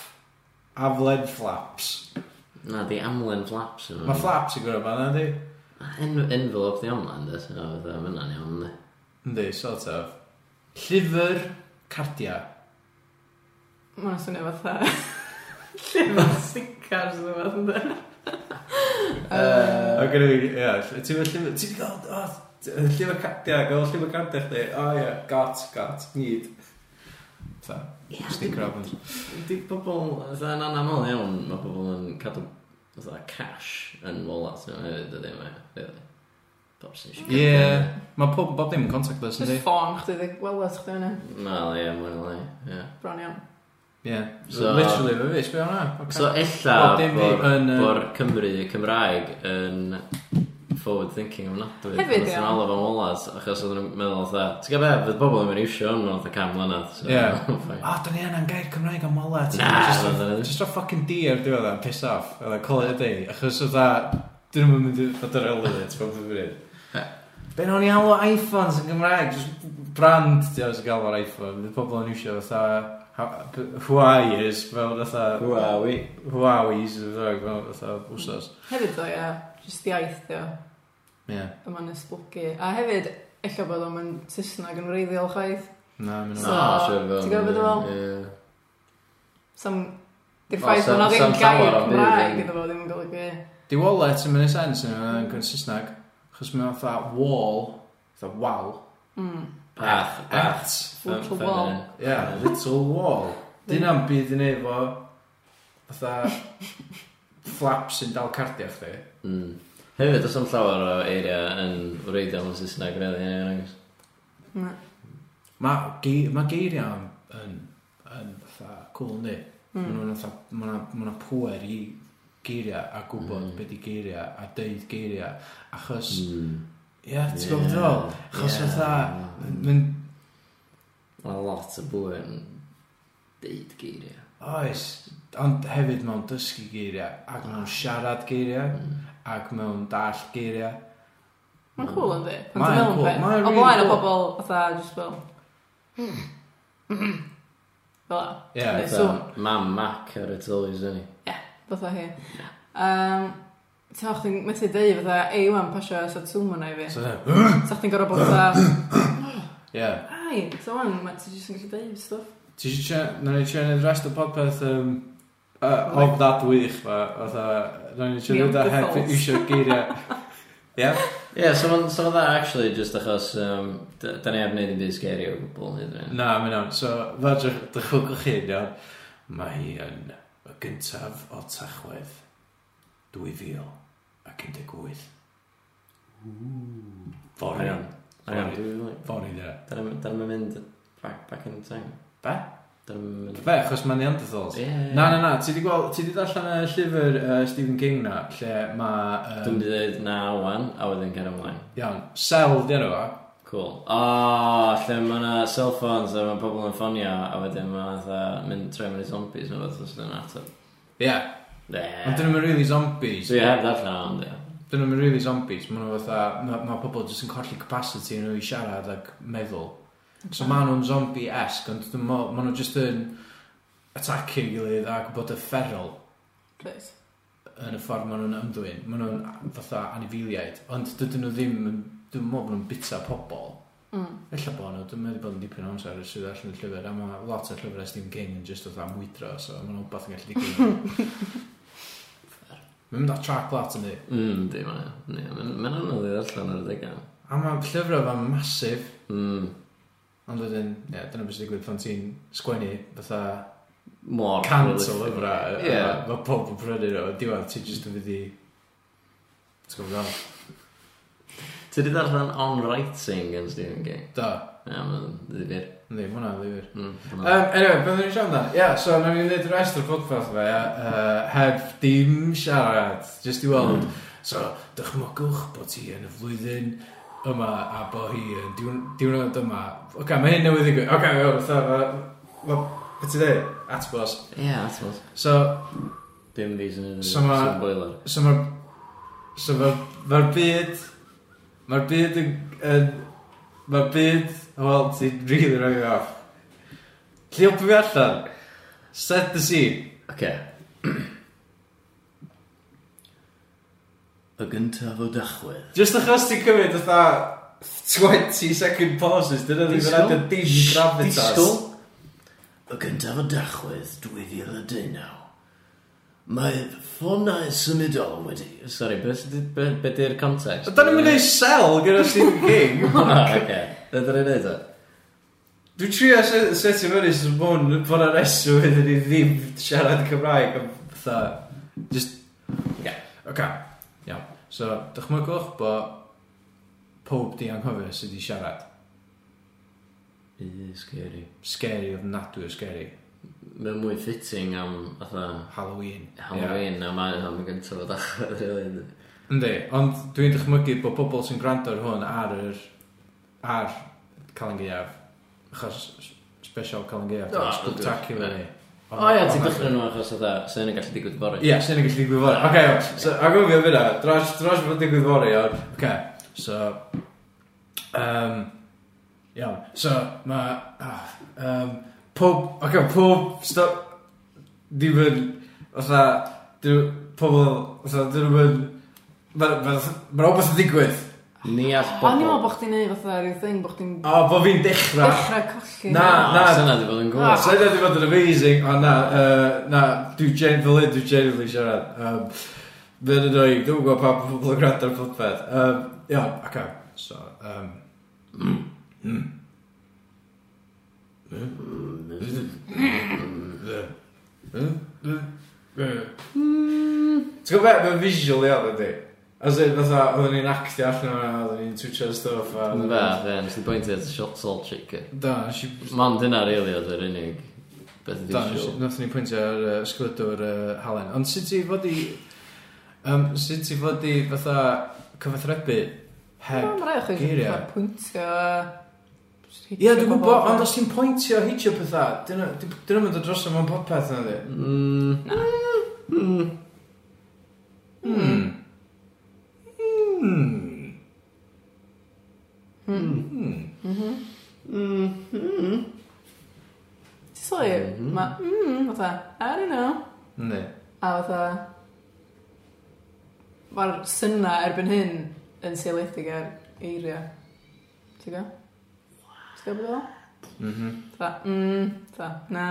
[SPEAKER 1] Afled flaps.
[SPEAKER 2] Na, di amlen flaps yn
[SPEAKER 1] Mae
[SPEAKER 2] hwnna.
[SPEAKER 1] flaps yn gwrdd fan, ynddi?
[SPEAKER 2] En- envelope di amlen, de, so fatha, ma' hwnna'n iawn, yndi.
[SPEAKER 1] Ynddi, sort of. Llyfr cardia.
[SPEAKER 3] Ma' hwnna'n swnio fatha... Lle mae'n sicars yn fath yn dweud.
[SPEAKER 1] O, gyda fi, ie. ll- Ti'n mynd llyfr... Ti'n gael... o, t- Llyfr cardia, gael llyfr cardia chdi. O, ie. Got, got, need. Tha,
[SPEAKER 2] Ie,
[SPEAKER 1] sticker albums.
[SPEAKER 2] Di pobl, fatha yn anamol iawn, mae pobl yn cadw fatha cash yn wallets nhw hefyd, dydy mae, really. Bob sy'n siŵr.
[SPEAKER 1] Ie, mae pob, bob dim yn contactless yn di.
[SPEAKER 3] Just ffôn chdi ddig welod chdi hwnna.
[SPEAKER 2] Wel, ie, mwyn o lai, ie.
[SPEAKER 3] Bron iawn.
[SPEAKER 1] Ie,
[SPEAKER 2] So-
[SPEAKER 1] literally fe fi, sbio hwnna. Ocê.
[SPEAKER 2] So, ella,
[SPEAKER 1] Bob dim fi
[SPEAKER 2] bod-
[SPEAKER 1] yn, yy,
[SPEAKER 2] bod Cymru, Cymraeg, yn forward-thinking ofnadwy.
[SPEAKER 3] Hefyd,
[SPEAKER 2] Wnaethon
[SPEAKER 3] ie.
[SPEAKER 2] nhw alw fo'n wallets, achos oedden nhw'n meddwl, fatha, "Ti'n gwbod be, fydd bobl ddim yn iwsio hwn mewn fatha can mlynedd, so,
[SPEAKER 1] Ie.
[SPEAKER 2] fine."
[SPEAKER 1] O, da ni anna'n gair Cymraeg am wallet.
[SPEAKER 2] Na,
[SPEAKER 1] Just a-
[SPEAKER 2] na, na, na.
[SPEAKER 1] Just a fucking D ar diwedd am piss off. Like, call it a day. Achos oedd a... Dyn nhw'n mynd i fod ar elefant, bob yn bryd. Be nawn ni alw iPhones yn Gymraeg? Just brand, di oes gael o'r iPhone. Fydd pobl yn iwsio fatha... ha- b- Huawei's, fel fatha...
[SPEAKER 2] Huawei.
[SPEAKER 1] Huawei's, fel fatha wsos.
[SPEAKER 3] Hefyd o, ia. Just iaith, ia.
[SPEAKER 1] Ie.
[SPEAKER 3] Yma'n esblygu. A hefyd, ella bod o'n mynd Saesneg yn wreiddiol chwaith.
[SPEAKER 1] Na, mynd
[SPEAKER 3] So,
[SPEAKER 1] o'n...
[SPEAKER 2] Na, siŵr fod
[SPEAKER 3] ti'n gwbod be dwi feddwl?
[SPEAKER 2] Ie.
[SPEAKER 3] Sam... Di'r
[SPEAKER 2] Wel,
[SPEAKER 3] ffaith
[SPEAKER 2] sam-
[SPEAKER 3] bod na
[SPEAKER 2] sam
[SPEAKER 3] ddim
[SPEAKER 2] llawer
[SPEAKER 3] gair
[SPEAKER 2] o'm byd
[SPEAKER 3] Cymraeg
[SPEAKER 2] yn-
[SPEAKER 3] iddo fo ddim yn golygu.
[SPEAKER 1] Di wallet yn mynd i sens yn yn gwneud Saesneg. Chos mae'n fatha wall, fatha wal.
[SPEAKER 3] Mm.
[SPEAKER 2] Path, path.
[SPEAKER 1] At.
[SPEAKER 3] Little wall.
[SPEAKER 1] Ie, yeah, little wall. Dyna'n byd yn efo fatha flap sy'n dal cardia chdi.
[SPEAKER 2] Mm. Hefyd, does am llawer o eiria yn wreiddiol yn Saesneg, really, yn enghraifft.
[SPEAKER 3] Na. hmm.
[SPEAKER 1] Mae ge ma geiriau yn, yn, yn fatha cool ni. Mm.
[SPEAKER 3] Mm.
[SPEAKER 1] Mae'n fatha, mae'n ma pwer i geiriau a gwybod
[SPEAKER 2] Mm.
[SPEAKER 1] mm. beth i geiriau a deud geiriau. Achos, ie,
[SPEAKER 2] Mm.
[SPEAKER 1] yeah, Hmm. ti'n gwybod beth ddol? Achos
[SPEAKER 2] Ie.
[SPEAKER 1] fatha, mae'n,
[SPEAKER 2] Ma' lot o bwy yn deud geiriau.
[SPEAKER 1] oes, ond hefyd mewn dysgu geiriau ac mewn siarad geiriau ac mewn dall geiriau.
[SPEAKER 3] Mae'n cool yn di. Pan
[SPEAKER 1] Mae'n
[SPEAKER 3] ti'n meddwl
[SPEAKER 1] cool,
[SPEAKER 3] am
[SPEAKER 1] mae'n
[SPEAKER 3] peth. O
[SPEAKER 1] really
[SPEAKER 3] blaen o
[SPEAKER 1] cool.
[SPEAKER 3] bobl, fatha, just fel... hmm. Fel a.
[SPEAKER 1] Ie,
[SPEAKER 3] Neu
[SPEAKER 2] Fatha,
[SPEAKER 3] sŵn.
[SPEAKER 2] Mam Mac ar y tylwys yn ni.
[SPEAKER 3] Fatha hi. Um, Ti'n o'ch chi'n methu dweud fatha, ei wan, pasio Satsuma na i fi.
[SPEAKER 1] So,
[SPEAKER 3] Sa chdi'n gorau bod fatha,
[SPEAKER 1] ie. Yeah.
[SPEAKER 3] ai, so wan, ma- ti jyst yn gallu dweud stuff.
[SPEAKER 1] Ti eisiau trio, na ni trio neud rest o podpeth um, uh,
[SPEAKER 3] Right.
[SPEAKER 1] of that wych, ma, fatha, na ni trio
[SPEAKER 3] Beyond
[SPEAKER 1] neud o
[SPEAKER 3] the
[SPEAKER 1] heb
[SPEAKER 3] thoughts.
[SPEAKER 1] eisiau geiriau. Ie?
[SPEAKER 2] Ie, so ma'n so ma dda actually just achos um, d- da ni ar wneud yn byd sgeri o gwbl hyd yn hyn.
[SPEAKER 1] Na, mae'n iawn. So, fel drych- dychwygwch chi, iawn, mae hi yn y gyntaf o tachwedd 2000 ac 18. Fory.
[SPEAKER 2] Hang on, hang on, dwi- dwi-
[SPEAKER 1] Fory, ie.
[SPEAKER 2] Da ni'n da ni'n mynd back, back in time.
[SPEAKER 1] Be?
[SPEAKER 2] Da ni'n mynd...
[SPEAKER 1] Be, achos mae Neanderthals.
[SPEAKER 2] Ie.
[SPEAKER 1] Na, na, na, ti di gweld, ti di darllen y llyfr uh, Stephen King na, lle mae...
[SPEAKER 2] Dwi'n mynd i ddeud na wan, a wedyn cer ymlaen.
[SPEAKER 1] Iawn, sel di enw o.
[SPEAKER 2] Cool. O, lle mae yna cell phones a mae pobl yn ffonio a wedyn mae fatha mynd tre mynd i zombies neu fath os ydyn nhw'n ateb.
[SPEAKER 1] Ie, ond dyn
[SPEAKER 2] Ne.
[SPEAKER 1] nhw'n really zombies.
[SPEAKER 2] So you have that now, ond ie.
[SPEAKER 1] Dyn nhw'n really zombies. Mae nhw fatha, mae ma pobl jyst yn colli capacity nhw i siarad ac meddwl. So mae nhw'n zombie-esque, ond dyn nhw, mae nhw jyst yn atacio'i gilydd ac bod y feral
[SPEAKER 3] Please.
[SPEAKER 1] yn y ffordd mae nhw'n ymddwyn. Mae nhw'n fatha anifiliaid, ond dydyn nhw ddim, yn- dwi'n meddwl bod nhw'n bita pobl.
[SPEAKER 3] Mm.
[SPEAKER 1] Ella bod nhw, dwi'n meddwl bod yn dipyn o amser ers sydd allan y llyfr, a mae lot o llyfr Stephen King yn just oedd am mwydro, so mae nhw'n beth yn gallu digwydd. Mae'n mynd at track lot yn di.
[SPEAKER 2] Mm, di ma'n ie. Ie, Mae'n mae'n anodd i ddarllen ar y degan.
[SPEAKER 1] A mae llyfrau fan masif,
[SPEAKER 2] Mm.
[SPEAKER 1] ond wedyn, ie, yeah, dyna beth sy'n digwydd pan ti'n sgwennu fatha
[SPEAKER 2] Mor.
[SPEAKER 1] cant o lyfrau,
[SPEAKER 2] Ie.
[SPEAKER 1] a mae pob yn prynu nhw, a diwedd ti'n just yn fydd i... Ti'n gwybod gael?
[SPEAKER 2] Ti di darllen on writing yn Stephen King?
[SPEAKER 1] Da,
[SPEAKER 2] Ie, mae'n ddifir.
[SPEAKER 1] ynddi, mae hwnna'n ddifyr.
[SPEAKER 2] Mm.
[SPEAKER 1] Um, anyway, beth ni'n siarad amdan? Ie, yeah, so nawn ni'n gwneud y rest o'r podcast fe, ia, uh, heb dim siarad, jyst i weld. So, dychmygwch bod ti yn y flwyddyn yma a bod hi yn diwn- diwrnod yma. Oce, okay, mae hyn newydd i gwy. Oce, okay, iawn, fatha, uh, beth ti dweud? Atbos.
[SPEAKER 2] Ie, that's what.
[SPEAKER 1] So,
[SPEAKER 2] Dim fi sy'n
[SPEAKER 1] So ma-
[SPEAKER 2] sy'n boiler.
[SPEAKER 1] so mae'r so mae'r mae'r byd mae'r byd yn, yn mae'r byd wel ti'n really rhoi fi off lliwp fi allan set the scene
[SPEAKER 2] Oce. Y gyntaf o dachwedd.
[SPEAKER 1] just achos ti'n cymryd fatha 20 second pauses dyna ddim yn rhaid y dim gravitas
[SPEAKER 2] Y gyntaf o dachwedd 2019. Mae ffonau symudol wedi... Sorry, beth sydd- be- be di'r context?
[SPEAKER 1] Da ni'n mynd i sell gyda Stephen King
[SPEAKER 2] Ah, oce. Dyna ni'n neud o.
[SPEAKER 1] Dwi'n trio se- setio fyny sy'n mwyn bod na reswm iddyn ni ddim siarad Cymraeg am fatha, just, ie, yeah. oce, iawn. So, dychmygwch bod pob di anghofio sydd wedi siarad.
[SPEAKER 2] Yy, scary.
[SPEAKER 1] Scary, ofnadwy o scary.
[SPEAKER 2] Mae'n mwy fitting am, fatha,
[SPEAKER 1] Halloween.
[SPEAKER 2] Halloween, a mae'n am gyntaf o ddechrau, really. yndi?
[SPEAKER 1] Ie. Yndi, ond dwi'n dychmygu bod pobl sy'n gwrando ar hwn ar yr, ar Calan Gaeaf, achos s- special Calan Gaeaf,
[SPEAKER 2] O,
[SPEAKER 1] oh, spectacular
[SPEAKER 2] yndw.
[SPEAKER 1] ni.
[SPEAKER 2] O ia, ti'n dechrau nhw achos oedd sy'n yn gallu digwydd bori.
[SPEAKER 1] Ie, sy'n gallu digwydd fory. Oce, iawn. so, a gofio fyna, dros, dros fod digwydd fory, iawn. Oce, so, um, iawn, so, mae, ah, um, pob, oce, pob, stop, ddim yn, otha, dyn nhw, pobl, otha, dyn nhw yn, mae'n rhywbeth yn digwydd.
[SPEAKER 2] Ni all
[SPEAKER 3] O, ni'n meddwl
[SPEAKER 2] bobl.
[SPEAKER 3] bod chdi'n neud fatha rhyw thing, bod chdi'n
[SPEAKER 1] O, bo fi'n dechrau.
[SPEAKER 3] dechrau colli.
[SPEAKER 1] Na, na.
[SPEAKER 2] Syna di bod yn gwybod.
[SPEAKER 1] So yna di fod yn amazing, ond na, uh, na, dwi gen, fel hyn, dwi genuinely siarad. Um, Fe'n yn oed, dwi'n gwybod pa pobl yn gwrando ar podpeth. Um, iawn, ac so, um, Ti'n gwybod beth, mae'n visual iawn ydy. As in, fatha, oedden ni'n actio allan o'na, oedden ni'n twitio stuff a...
[SPEAKER 2] Yn fath, ie, nes i bwyntio at shot salt chicken.
[SPEAKER 1] Da, nes i
[SPEAKER 2] Mond yna rili oedd yr unig beth
[SPEAKER 1] Da,
[SPEAKER 2] ydi siw.
[SPEAKER 1] nath ni pwyntio ar uh, ysgrydwr uh, Halen. Ond sut ti fod i... Um, sut ti fod i fatha cyfathrebu heb...
[SPEAKER 3] Mae'n rhaid i chi
[SPEAKER 1] geiriau.
[SPEAKER 3] fatha pwyntio a...
[SPEAKER 1] Ie, yeah, dwi'n gwybod, ond os ti'n pwyntio hitio pethau, dyn nhw'n mynd o dros mewn popeth na di.
[SPEAKER 2] Mm,
[SPEAKER 1] Hmm. Hmm. Hmm.
[SPEAKER 3] Ti'n sylwi?
[SPEAKER 1] Mhm.
[SPEAKER 3] Ma- mm, fatha, I don't know.
[SPEAKER 1] Ne.
[SPEAKER 3] A fatha... Mae'r syna erbyn hyn yn seiliedig ar eiriau. Ti'n go? Ti'n go bod o?
[SPEAKER 1] Mhm.
[SPEAKER 3] Ta, mm, ta, na,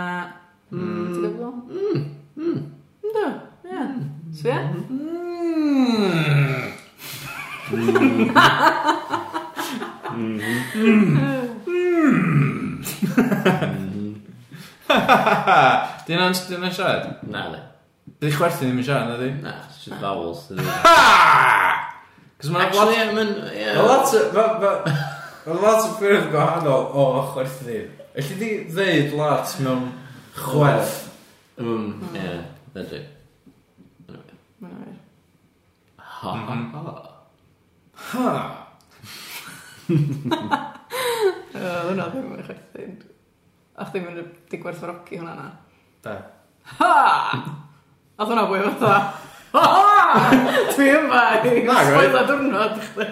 [SPEAKER 3] mm, ti'n go bod o? Mm, mm. Ynddo, ie. So ie?
[SPEAKER 1] mhm. Hmm. Hmm. Dyn nhw'n siarad?
[SPEAKER 2] na, ne.
[SPEAKER 1] Dyn nhw'n chwerthu ddim yn siarad, na di?
[SPEAKER 2] Na, sydd bowels. dydi.
[SPEAKER 1] Cos mae'n lot...
[SPEAKER 2] Actually, ie, mae'n... ie.
[SPEAKER 1] Mae lot o... ma- ma- Ma' lot o ffyrdd gwahanol o chwerthu. Elli di ddeud lot mewn chwerth.
[SPEAKER 2] Mm,
[SPEAKER 1] Hmm.
[SPEAKER 2] ie, fedri.
[SPEAKER 3] Mae'n wir.
[SPEAKER 2] Ha,
[SPEAKER 1] Hmm.
[SPEAKER 2] ha, ha.
[SPEAKER 1] Ha!
[SPEAKER 3] O, Oedd hwnna ddim yn chwerthu. A chdi mynd i gwerthfarogi hwnna na.
[SPEAKER 1] Da.
[SPEAKER 3] Ha! Oedd hwnna fwy fatha. Ha! Dwi yma i
[SPEAKER 1] Na, gwir.
[SPEAKER 3] spoiler diwrnod i chdi.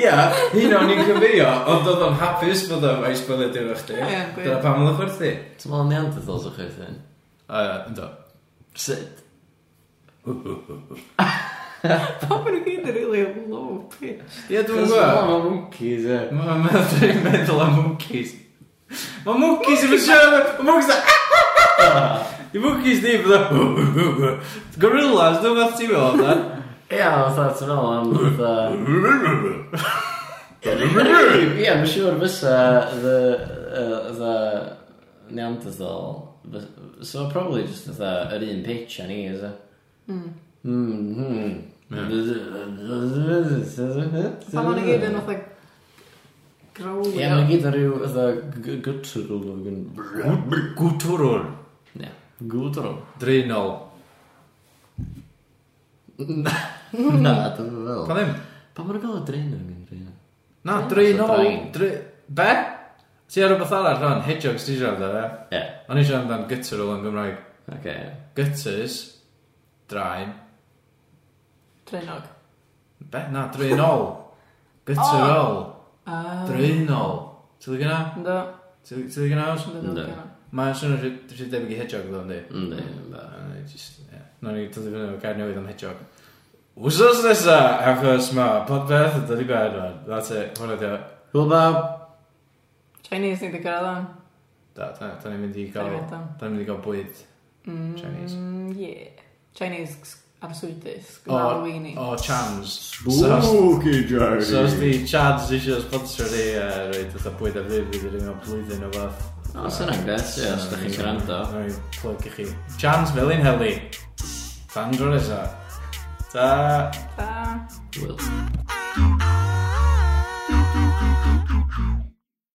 [SPEAKER 1] Ia, hyn o'n i'n cyfeio, ond oedd o'n hapus bod o'n faes bod o'n diwrnod chdi.
[SPEAKER 3] Ie, gwir.
[SPEAKER 1] Dyna pam oedd o'n chwerthu.
[SPEAKER 2] Ti'n meddwl Neanderthals o chwerth hyn?
[SPEAKER 1] Ynddo.
[SPEAKER 2] Sut?
[SPEAKER 3] Pam yn y gyd yn rili low pitch.
[SPEAKER 1] Ia, dwi'n
[SPEAKER 2] Cos
[SPEAKER 1] gwybod.
[SPEAKER 2] Mae monkeys, ie.
[SPEAKER 1] Mae'n meddwl am mwcis. Mae mwcis yn siarad... Mae mwcis yn... Di mwcis di fydda... Gorillas, dwi'n fath ti'n meddwl, da?
[SPEAKER 2] Ie, fatha, ti'n meddwl am fatha... Ie, mae'n siŵr fysa the, uh, the Neanderthal. fys- So probably just fatha yr un pitch a ni, is it? Mm.
[SPEAKER 3] Pam yn y gyd yn fatha growlio.
[SPEAKER 2] Ie, mae'n gyd yn rhyw fatha guttural ag yn...
[SPEAKER 1] Gwtwrwr.
[SPEAKER 2] Ie, guttural.
[SPEAKER 1] Drinol.
[SPEAKER 2] Na, dwi'n
[SPEAKER 1] Pa
[SPEAKER 2] meddwl.
[SPEAKER 1] ddim?
[SPEAKER 2] Pa mae'n gael y drin yn Gymru?
[SPEAKER 1] Na,
[SPEAKER 2] Fatha
[SPEAKER 1] drinol.
[SPEAKER 2] drain.
[SPEAKER 1] Dri- Be? Ti ar rhywbeth arall rhan? Hedgehogs ti siarad ar e?
[SPEAKER 2] Ie,
[SPEAKER 1] O'n i siarad amdan gytterol yn Gymraeg.
[SPEAKER 2] oce.
[SPEAKER 1] Gytters. Draen.
[SPEAKER 3] Trenog.
[SPEAKER 1] Be? Na, drinol. Gytterol.
[SPEAKER 3] Ah.
[SPEAKER 1] Drinol. Ti'n lygo na?
[SPEAKER 3] Ynddo.
[SPEAKER 1] Ti'n ti'n lygo na?
[SPEAKER 3] Ynddo, ynddo,
[SPEAKER 2] Ynddo.
[SPEAKER 3] ynddo.
[SPEAKER 1] Mae'n swnio rhy- rhy debyg i hedgehog ddo, ynddi?
[SPEAKER 2] Ynddi, ynddo.
[SPEAKER 1] Yy, jyst, ie. Nawn ni dod i fyny efo gair newydd am hedgehog. Wsos nesa, achos mae podpeth yn dod i ben rwan. That's it, hwnna di o.
[SPEAKER 2] Hwyl bab!
[SPEAKER 3] Chinese ni wedi gyrraedd am.
[SPEAKER 1] Da, da, da ni'n mynd i
[SPEAKER 3] Da ni'n
[SPEAKER 1] gael...
[SPEAKER 3] mynd am.
[SPEAKER 1] Da ni'n mynd i gael bwyd.
[SPEAKER 3] Mm,
[SPEAKER 1] Chinese.
[SPEAKER 3] Yeah. Chinese s- arswydus,
[SPEAKER 1] O-
[SPEAKER 3] Halloweeni.
[SPEAKER 1] O chans.
[SPEAKER 2] Spooky Journey.
[SPEAKER 1] So os di Chads eisiau sponsor ni uh, roed oedd bwyd a fydd i'r un o blwyddyn o fath.
[SPEAKER 2] O, sy'n agres, ie, os ydych chi'n gwrando.
[SPEAKER 1] Rwy'n plug i chi. Chans Felin Heli. Tan dro nesa. Ta.
[SPEAKER 3] Ta.
[SPEAKER 2] Wel.